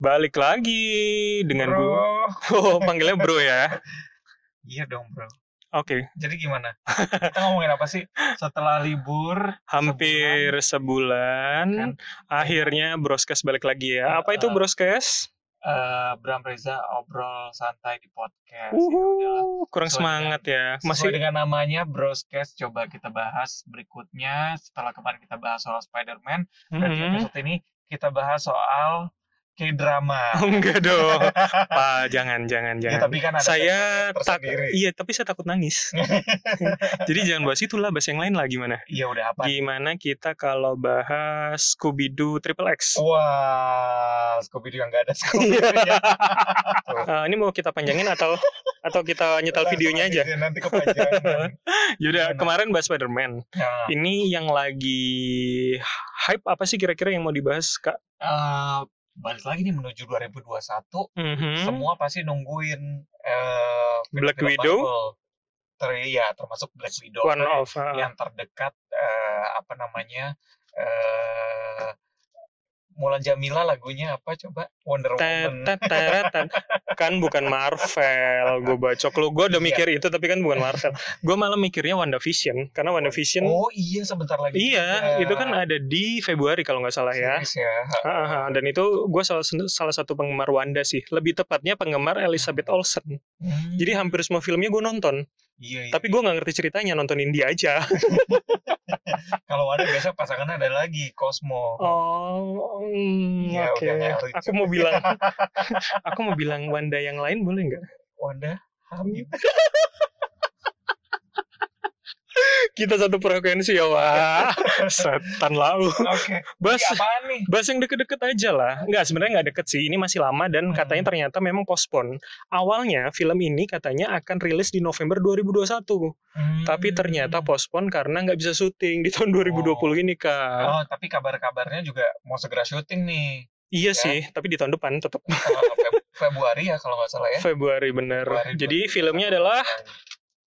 Balik lagi dengan bro. gue. Oh, panggilnya bro ya. Iya dong bro. Oke, Jadi gimana? Kita ngomongin apa sih? Setelah libur. hampir sebulan, Kan. akhirnya broadcast balik lagi ya. Apa itu Uh, broadcast? eh, Bram Reza obrol santai di podcast. Ya udahlah. Uhuh, kurang Sesuai semangat ya. Sesuai Masih dengan namanya Broscast coba kita bahas berikutnya setelah kemarin kita bahas soal Spider-Man dan di Mm-mm. episode ini kita bahas soal K-drama. Oh, enggak dong. Pak, jangan jangan Ya, jangan. tapi kan ada Saya segmennya tak tersendiri. iya, tapi saya takut nangis. Jadi jangan bahas itulah, bahas yang lain lah gimana? Iya udah apa? Gimana kita kalau bahas Scooby Doo Triple X? Oh. Wah, Scooby Doo yang gak ada ya. Scooby Doo-nya. Eh, ini mau kita panjangin atau atau kita nyetel videonya aja? Nanti kepanjangan. Yaudah, Gimana? kemarin bahas Spider-Man. Nah, Ini yang lagi hype apa sih kira-kira yang mau dibahas, Kak? eh, balik lagi nih menuju 2021 Mhm. semua pasti nungguin eh, Black film-film Widow? Marvel. Ter- ya, termasuk Black Widow One Karena of uh, yang terdekat eh, apa namanya eh Mulan Jamila lagunya apa coba Wonder tet, Woman tet, teret, tet. kan bukan Marvel gue bacok lu gue udah Iya. mikir itu tapi kan bukan Marvel gue malah mikirnya WandaVision karena WandaVision oh iya sebentar lagi iya juga. itu kan ada di Februari kalau nggak salah ya Series ya. Ah, ah, ah. dan itu gue salah, salah satu penggemar Wanda sih lebih tepatnya penggemar Elizabeth Olsen Hmm, jadi hampir semua filmnya gue nonton iya, iya. tapi gue nggak ngerti ceritanya nontonin dia aja kalau ada biasa pasangannya ada lagi Cosmo Oh, mm, Iya, oke. udah nggak lucu. Aku mau bilang, aku mau bilang Wanda yang lain boleh nggak? Wanda hamil Kita satu frekuensi ya, Wah. Setan lau. oke Bas, Ini apaan nih bas yang deket-deket aja lah. Nggak, sebenarnya nggak deket sih. Ini masih lama dan Hmm. katanya ternyata memang postpone. Awalnya film ini katanya akan rilis di November 2021, tapi Hmm. ternyata postpone karena nggak bisa syuting di tahun 2020 ini, Kak. Oh, tapi kabar-kabarnya juga mau segera syuting nih. Iya ya. sih, tapi di tahun depan tetap Tanggal Feb- Februari ya kalau nggak salah ya. Februari bener. Februari Jadi 2021. filmnya adalah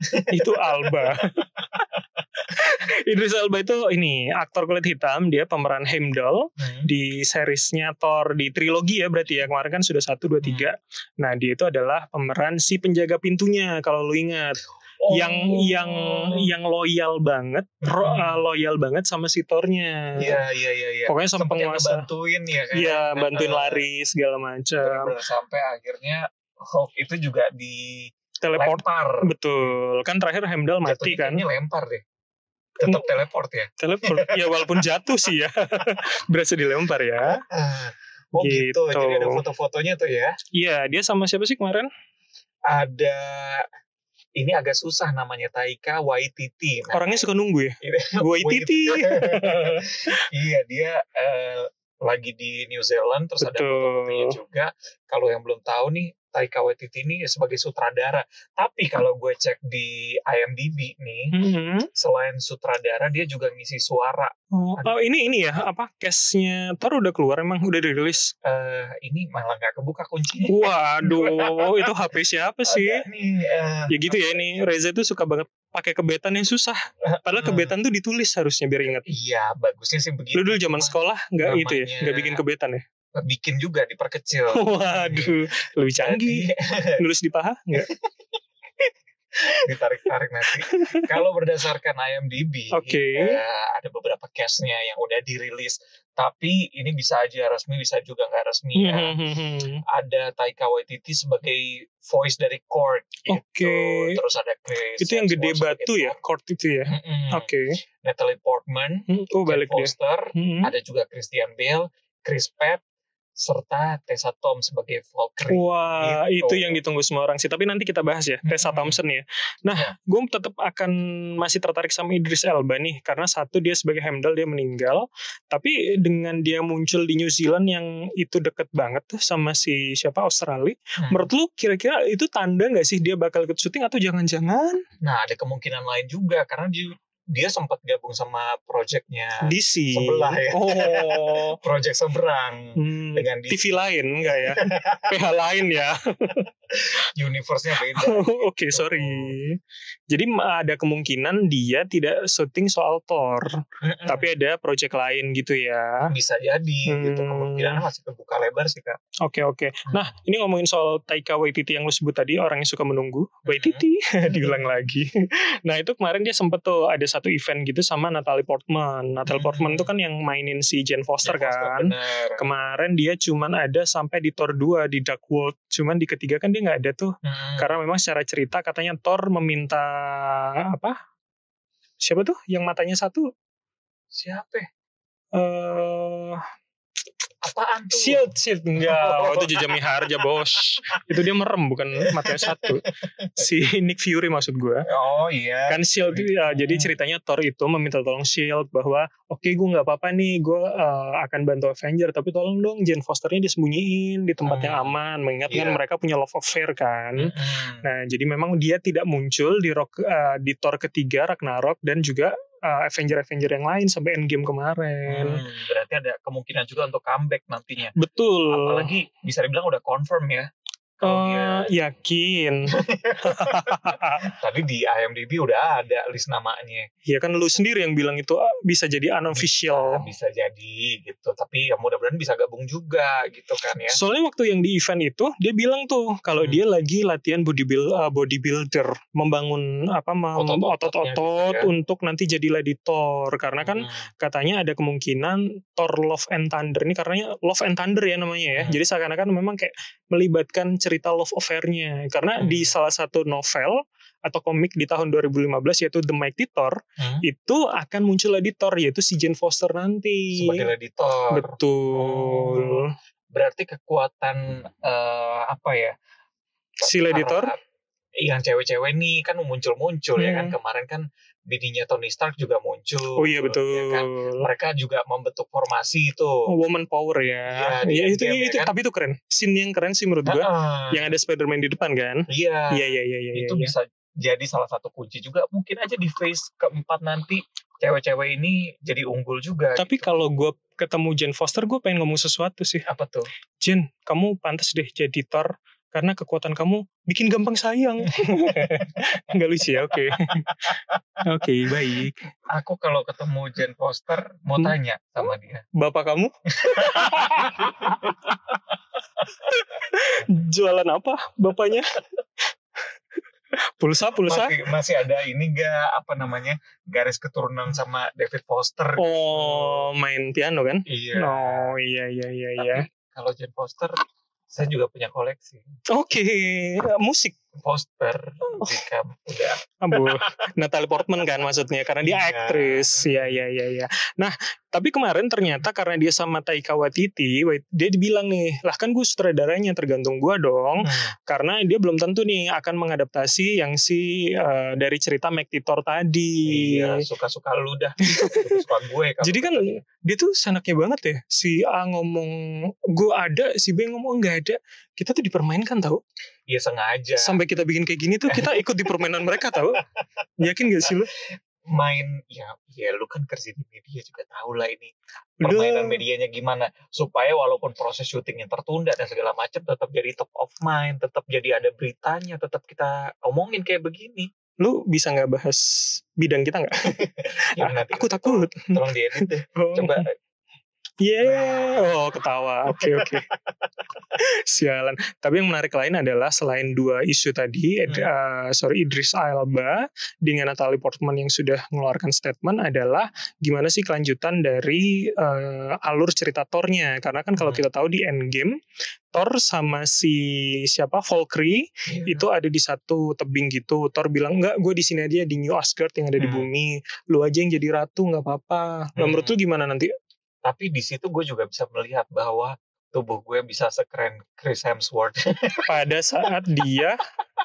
itu Alba. Idris Elba itu ini aktor kulit hitam, dia pemeran Heimdall. Hmm. di seriesnya Thor di trilogi ya berarti ya kemarin kan sudah satu dua tiga Hmm. nah dia itu adalah pemeran si penjaga pintunya kalau lu ingat Oh. yang yang yang loyal banget ro- Hmm. uh, loyal banget sama si Thornya Iya, iya, iya, iya. pokoknya sama Sempet yang penguasa ngebantuin ya kan. iya bantuin Eh, lari segala macam Bener-bener Iya, sampai akhirnya Hulk itu juga di teleport lempar. betul kan terakhir Heimdall mati Jatuhnya kan kayaknya lempar deh. Tetap teleport ya. teleport ya walaupun jatuh sih ya berasa dilempar ya Oh gitu. Gitu. Jadi ada foto-fotonya tuh ya. iya dia sama siapa sih kemarin Ada ini agak susah namanya Taika Waititi. Nah, orangnya suka nunggu ya ini- gue titi iya dia eh, lagi di New Zealand terus ada fotonya betul juga. Kalau yang belum tahu nih Taika Waititi ini sebagai sutradara. Tapi kalau gue cek di IMDb nih, Mhm. selain sutradara dia juga ngisi suara. Oh, Ada- oh, ini ini ya apa case-nya Thor udah keluar emang udah dirilis. Eh, ini malah nggak kebuka kuncinya. Waduh, itu HP siapa sih? Ada nih, eh, Ya gitu ya ini Reza tuh suka banget pakai kebetan yang susah. Padahal Hmm. kebetan tuh ditulis harusnya biar ingat. Iya, bagusnya sih begitu. Lu dulu zaman Cuma sekolah nggak itu ya, nggak bikin namanya- kebetan ya? Bikin juga diperkecil. Iya, Waduh, lebih canggih. Nulis di paha nggak? Ditarik-tarik nanti. Kalau berdasarkan IMDb, Oke. eh, ada beberapa case-nya yang udah dirilis. Tapi ini bisa aja resmi, bisa juga nggak resmi ya. Mm-hmm. Ada Taika Waititi sebagai voice dari Korg. gitu. Oke. Terus ada Chris. Itu yang gede Hemsworth batu sebagai ya, Korg. court itu ya. Mm-mm. Oke. Natalie Portman, Hmm, Oh Jane balik dia. Foster, Hmm. ada juga Christian Bale, Chris Pratt, serta Tessa Tom sebagai Oh. Valkyrie. Wah, Gitu. itu yang ditunggu semua orang sih. Tapi nanti kita bahas ya, Tessa Hmm. Thompson ya. Nah, Ya. gue tetap akan masih tertarik sama Idris Elba nih, karena satu dia sebagai Heimdall dia meninggal, tapi dengan dia muncul di New Zealand yang itu deket banget tuh sama si siapa Australia. Hmm. Menurut lu kira-kira itu tanda nggak sih dia bakal ikut syuting atau jangan-jangan Nah, ada kemungkinan lain juga karena dia, dia sempat gabung sama projectnya DC? Ah, Sebelah ya. Oh, project seberang Hmm, dengan di TV lain enggak ya? PH lain ya? universe-nya beda. Oke, gitu. sorry. Jadi ma- ada kemungkinan dia tidak syuting soal Thor, Mm-mm. tapi ada project lain gitu ya. bisa jadi gitu Hmm. kemungkinan masih kebuka lebar sih kak. Oke, oke. Nah, ini ngomongin soal Taika Waititi yang lu sebut tadi, orang yang suka menunggu. Waititi, Hmm. diulang lagi. Nah, itu kemarin dia sempet tuh ada satu event gitu sama Natalie Portman. Natalie Hmm. Portman tuh kan yang mainin si Jane Foster Jadi, Oscar kan. bener. Kemarin dia cuman ada sampai di Thor 2 di Dark World. Cuman di ketiga kan dia nggak ada tuh. Hmm. karena memang secara cerita katanya Thor meminta apa siapa tuh yang matanya satu siapa? ya? eh Apaan tuh? shield shield enggak oh, itu jejak miharja bos itu dia merem bukan matanya satu si Nick Fury maksud gue Oh iya. kan shield ya, jadi ceritanya Thor itu meminta tolong shield bahwa oke gue nggak apa-apa nih gue eh, akan bantu Avenger tapi tolong dong Jane Fosternya disembunyiin di tempat yang Hmm. aman mengingat kan Iya. Hmm. mereka punya love affair kan Mm-mm. Nah, jadi memang dia tidak muncul di Rock, eh, di Thor ketiga Ragnarok dan juga eh, Avenger-Avenger yang lain sampai Endgame kemarin. Hmm, berarti ada kemungkinan juga untuk comeback nantinya. Betul. Apalagi bisa dibilang udah confirm ya. Eh, Kalau dia- yakin. tadi di IMDb udah ada list namanya. ya kan lu sendiri yang bilang itu ah, bisa jadi unofficial. Bisa jadi gitu. Tapi ya mudah-mudahan bisa gabung juga gitu kan ya. Soalnya waktu yang di event itu dia bilang tuh kalau Hmm. dia lagi latihan bodybuild eh, bodybuilder, membangun apa mem- otot-otot Otot-ototnya gitu ya. untuk nanti jadi lady Thor karena kan Hmm. katanya ada kemungkinan Thor Love and Thunder ini karenanya Love and Thunder ya namanya ya. Hmm. Jadi seakan-akan memang kayak melibatkan cerita love affair-nya karena Hmm. di salah satu novel atau komik di tahun 2015 yaitu The Mighty Thor Hmm. itu akan muncul lagi Thor yaitu si Jane Foster nanti. sebagai Oh. editor. Betul. Berarti kekuatan eh, apa ya? Si Lady Thor para- yang cewek-cewek nih kan muncul-muncul ya kan Hmm. kemarin kan bininya Tony Stark juga muncul. Oh iya betul. ya kan? Mereka juga membentuk formasi itu. Woman power ya. Iya, di Iya itu, Endgame ya itu kan? tapi itu keren. Scene yang keren sih menurut gua Ah, yang ada Spider-Man di depan kan. iya. Iya iya iya iya. itu iya. bisa jadi salah satu kunci juga. Mungkin aja di phase keempat nanti cewek-cewek ini jadi unggul juga. gitu. Tapi kalau gue ketemu Jane Foster, gue pengen ngomong sesuatu sih. apa tuh? Jane, kamu pantas deh jadi Thor karena kekuatan kamu bikin gampang sayang. Enggak lucu ya, oke. oke, baik. Aku kalau ketemu Jane Foster mau Hmm. tanya sama dia. Bapak kamu? Jualan apa bapaknya? pulsa, pulsa. Masih, masih ada ini gak apa namanya garis keturunan sama David Foster? Hmm. Oh, main piano kan? Iya. Oh, iya iya iya Tapi iya. kalau Jane Foster, saya juga punya koleksi Oke, musik. poster Oh, jika udah. Abu, Natalie Portman kan maksudnya karena dia Iya. aktris. Iya iya iya iya. Nah, tapi kemarin ternyata karena dia sama Taika Waititi, Wait- dia dibilang nih, "Lah kan gue sutradaranya tergantung gua dong." Hmm. Karena dia belum tentu nih akan mengadaptasi yang si eh, dari cerita Mektitor tadi. Iya, suka-suka lu dah. Suka gue kalau Jadi kan dia tuh sanaknya banget ya. Si A ngomong gue ada, si B ngomong "Oh, nggak ada. Kita tuh dipermainkan tau. Iya sengaja Sampai kita bikin kayak gini tuh kita ikut di permainan mereka tau. Yakin gak sih lu? main ya ya lu kan kerja di media juga tahu lah ini Udah. permainan medianya gimana supaya walaupun proses syutingnya tertunda dan segala macam tetap jadi top of mind, tetap jadi ada beritanya, tetap kita omongin kayak begini. lu bisa nggak bahas bidang kita nggak? Oh. Ya, nanti aku takut. Iya. Tolong diedit deh. Coba Yeah. Oh ketawa. Oke oke. Sialan. Tapi yang menarik lain adalah selain dua isu tadi, Ed- eh, sorry Idris Elba dengan Natalie Portman yang sudah mengeluarkan statement adalah gimana sih kelanjutan dari eh, alur cerita Thor-nya? Karena kan kalau Hmm. kita tahu di Endgame, Thor sama si siapa Valkyrie itu ada di satu tebing gitu. Thor bilang enggak, gue di sini aja di New Asgard yang ada di Hmm. bumi. Lu aja yang jadi ratu nggak apa-apa. Nah, Hmm. menurut lu gimana nanti? tapi di situ gue juga bisa melihat bahwa tubuh gue bisa sekeren Chris Hemsworth. pada saat dia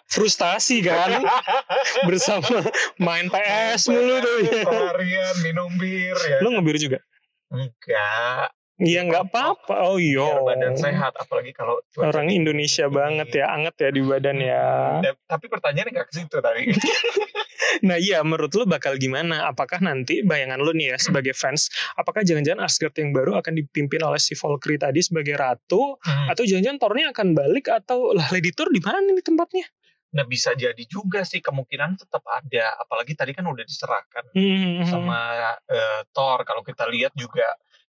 frustasi kan bersama main PS mulu tuh. Seharian minum bir ya. Lu ngebir juga? Enggak. Iya nggak apa-apa. Oh iya. Biar badan sehat apalagi kalau cuaca Orang dingin. Indonesia banget ya, anget ya di badan ya. Da- Tapi pertanyaannya nggak ke situ tadi. Nah iya, menurut lu bakal gimana? Apakah nanti bayangan lu nih ya sebagai fans, apakah jangan-jangan Asgard yang baru akan dipimpin oleh si Valkyrie tadi sebagai ratu? Hmm. Atau jangan-jangan Thor-nya akan balik atau lah Lady Thor di mana nih tempatnya? Nah bisa jadi juga sih kemungkinan tetap ada. Apalagi tadi kan udah diserahkan Hmm. sama eh, Thor. Kalau kita lihat juga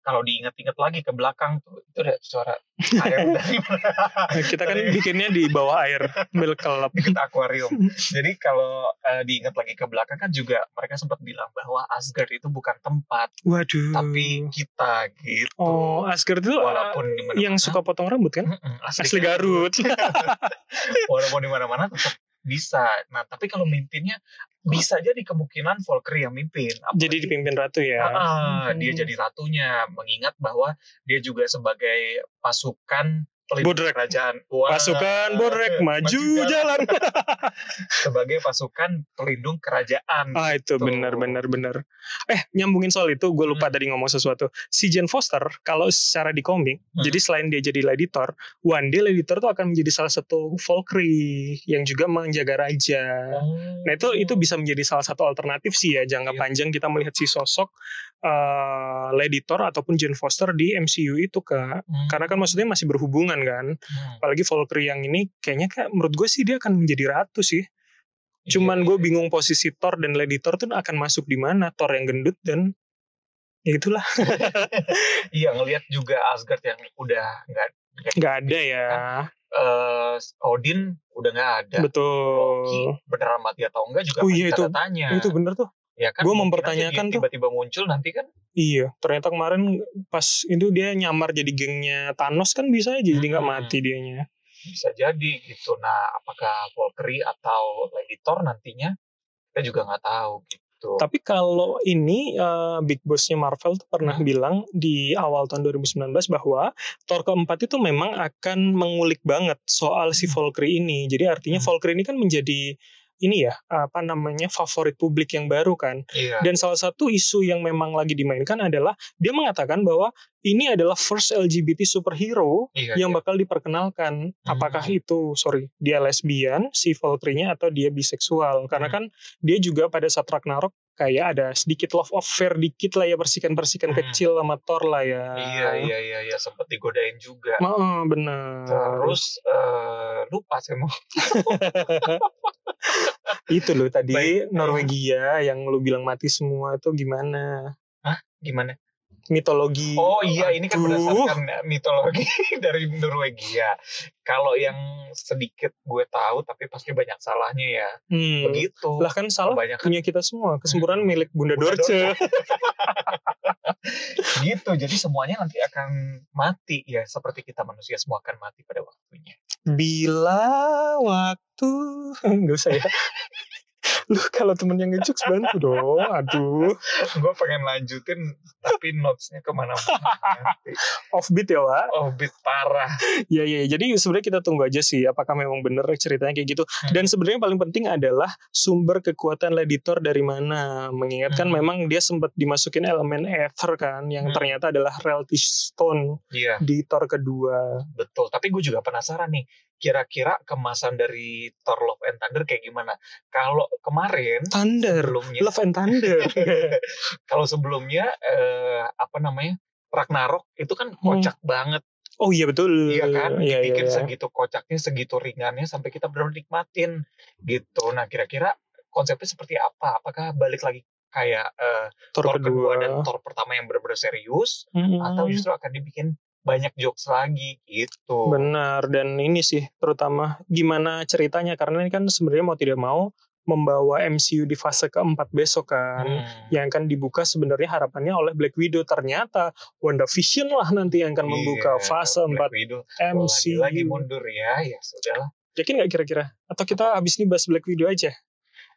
kalau diingat-ingat lagi ke belakang tuh itu ada suara air dari Kita kan bikinnya di bawah air, milk club. dekat akuarium. Jadi kalau eh, diingat lagi ke belakang kan juga mereka sempat bilang bahwa Asgard itu bukan tempat, Waduh. tapi kita gitu. Hmm. Oh, Asgard itu uh, Walaupun di mana-mana. yang suka potong rambut kan? Mm-mm, Asli Garut. Walaupun di mana-mana tetap bisa. Nah, tapi kalau mimpinnya bisa jadi kemungkinan Valkyrie yang mimpin. Apalagi- Jadi dipimpin ratu ya. Ah, Mhm. dia jadi ratunya mengingat bahwa dia juga sebagai pasukan pelindung Bodrek. kerajaan. Wah, eh, Pasukan Bodrek maju jalan. sebagai pasukan pelindung kerajaan. Ah itu Gitu. benar benar benar. Eh nyambungin soal itu gue lupa Hmm. tadi ngomong sesuatu. Si Jane Foster kalau secara di komik, Hmm. jadi selain dia jadi Lady Thor, one day Lady Thor tuh akan menjadi salah satu Valkyrie yang juga menjaga raja. Oh. Nah itu itu bisa menjadi salah satu alternatif sih ya jangka Iya. panjang kita melihat si sosok eh, Lady Thor ataupun Jane Foster di MCU itu kak. Hmm. Karena kan maksudnya masih berhubungan kan. Hmm. Apalagi Valkyrie yang ini kayaknya kayak menurut gue sih dia akan menjadi ratu sih. Cuman Iya, gue iya. bingung posisi Thor dan Lady Thor tuh akan masuk di mana. Thor yang gendut dan ya itulah Iya ngelihat juga Asgard yang udah nggak nggak ada Iya, ya. eh, Odin udah nggak ada. iya. Loki Betul. beneran mati atau enggak juga Oh masih iya, itu- tanda tanya. Itu bener tuh. ya kan? gua mungkin mempertanyakan aja dia tuh. tiba-tiba muncul nanti kan Iya. Ternyata kemarin pas itu dia nyamar jadi gengnya Thanos kan bisa aja jadi nggak Hmm. mati dianya. bisa jadi gitu. Nah, apakah Valkyrie atau Lady Thor nantinya kita juga nggak tahu gitu. Tapi kalau ini eh, Big Bossnya Marvel tuh pernah bilang di awal tahun 2019 bahwa Thor keempat itu memang akan mengulik banget soal si Valkyrie ini. Jadi artinya Hmm. Valkyrie ini kan menjadi ini ya apa namanya favorit publik yang baru kan. iya. Dan salah satu isu yang memang lagi dimainkan adalah dia mengatakan bahwa ini adalah first LGBT superhero iya, yang iya. bakal diperkenalkan. Hmm, Apakah itu, sorry, dia lesbian, si Valkyrie-nya atau dia biseksual? Karena Hmm. kan dia juga pada saat Ragnarok kayak ada sedikit love affair dikit lah ya persikan-persikan Hmm. kecil sama Thor lah ya. Iya, iya, iya, iya, sempat digodain juga. Ma- eh, bener. Terus eh, lupa sih mau. itu loh tadi Baik. hmm. Norwegia yang lu bilang mati semua itu gimana? Gimana? Mitologi. Oh iya, ini kan Aduh. berdasarkan mitologi dari Norwegia. Kalau yang sedikit gue tahu, tapi pasti banyak salahnya ya. Hmm. Begitu. Lah kan salah Kebanyakan punya kita semua kesempurnaan milik Bunda, Bunda Dorce. gitu. Jadi semuanya nanti akan mati ya, seperti kita manusia semua akan mati pada waktunya. Hmm. Bila waktu nggak usah ya. Lu kalau temennya ngejokes bantu dong. Aduh, gue pengen lanjutin, tapi notesnya kemana-mana. nanti. offbeat ya, Wak. Oh, bit parah. Iya, iya. Jadi sebenarnya kita tunggu aja sih apakah memang bener ceritanya kayak gitu. Dan sebenarnya yang paling penting adalah sumber kekuatan Leditor dari mana. Mengingatkan Hmm. memang dia sempat dimasukin elemen ether kan yang Hmm. ternyata adalah reality stone Iya, di Thor kedua. betul. Tapi gue juga penasaran nih, kira-kira kemasan dari Thor Love and Thunder kayak gimana? Kalau kemarin Thunder, sebelumnya Love and Thunder. kalau sebelumnya eh, apa namanya? Ragnarok itu kan kocak banget oh iya betul. Iya Iya, kan, iya, dibikin iya. segitu kocaknya, segitu ringannya sampai kita benar nikmatin gitu. Nah, kira-kira konsepnya seperti apa? Apakah balik lagi kayak eh, Thor, Thor kedua kedua Hmm. dan Thor pertama yang benar-benar serius Mm-mm. atau justru akan dibikin banyak jokes lagi gitu? Benar dan ini sih terutama gimana ceritanya karena ini kan sebenarnya mau tidak mau membawa MCU di fase keempat besok kan Hmm. yang akan dibuka sebenarnya harapannya oleh Black Widow ternyata WandaVision lah nanti yang akan membuka Iya, fase Black 4 Widow MCU. lagi mundur ya, ya sudahlah. Yakin nggak kira-kira? Atau kita habis ini bahas Black Widow aja?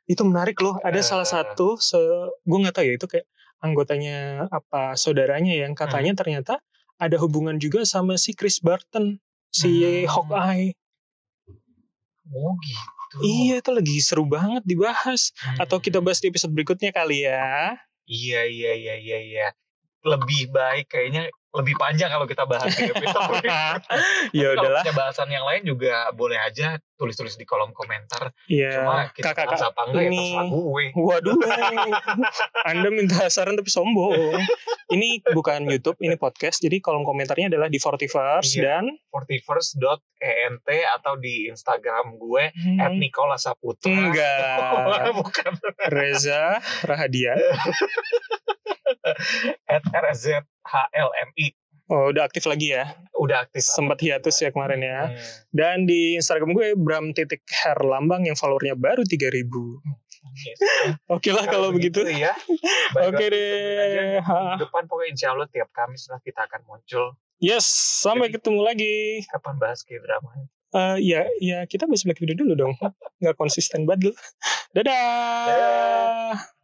Itu menarik loh. Ada Eh. salah satu, Hmm. se gue nggak tahu ya itu kayak anggotanya apa saudaranya yang katanya ternyata ada hubungan juga sama si Chris Barton, si Hmm. Hawkeye. Oh gitu. Iya, itu lagi seru banget dibahas. Hmm. Atau kita bahas di episode berikutnya kali ya. Iya iya iya iya iya. Lebih baik kayaknya lebih panjang kalau kita bahas di episode. ya Tapi udahlah. Kalau punya bahasan yang lain juga boleh aja tulis-tulis di kolom komentar. Ya, Cuma kita bahas kakak-kakak apa enggak ya ini. terserah gue. Waduh, Anda minta saran tapi sombong. Ini bukan YouTube, ini podcast. Jadi kolom komentarnya adalah di Fortiverse Iya. dan 41st.ent atau di Instagram gue at Hmm, Nicola Saputra. enggak Bukan Reza Rahadian. at RZHLMI. Oh, udah aktif lagi ya. Udah aktif. Sempat hiatus ya kemarin ya. Hmm. Dan di Instagram gue Bram titik Herlambang yang followernya baru 3000. Yes. Oke lah kalau begitu. ya. Balik Oke lagi aja. gitu. deh. Ha. Depan pokoknya insya Allah tiap Kamis lah kita akan muncul. Yes, sampai ketemu lagi. Kapan bahas K-drama? Eh ya, ya kita bahas Black Widow dulu dong. Nggak konsisten banget. Dadah. Dadah.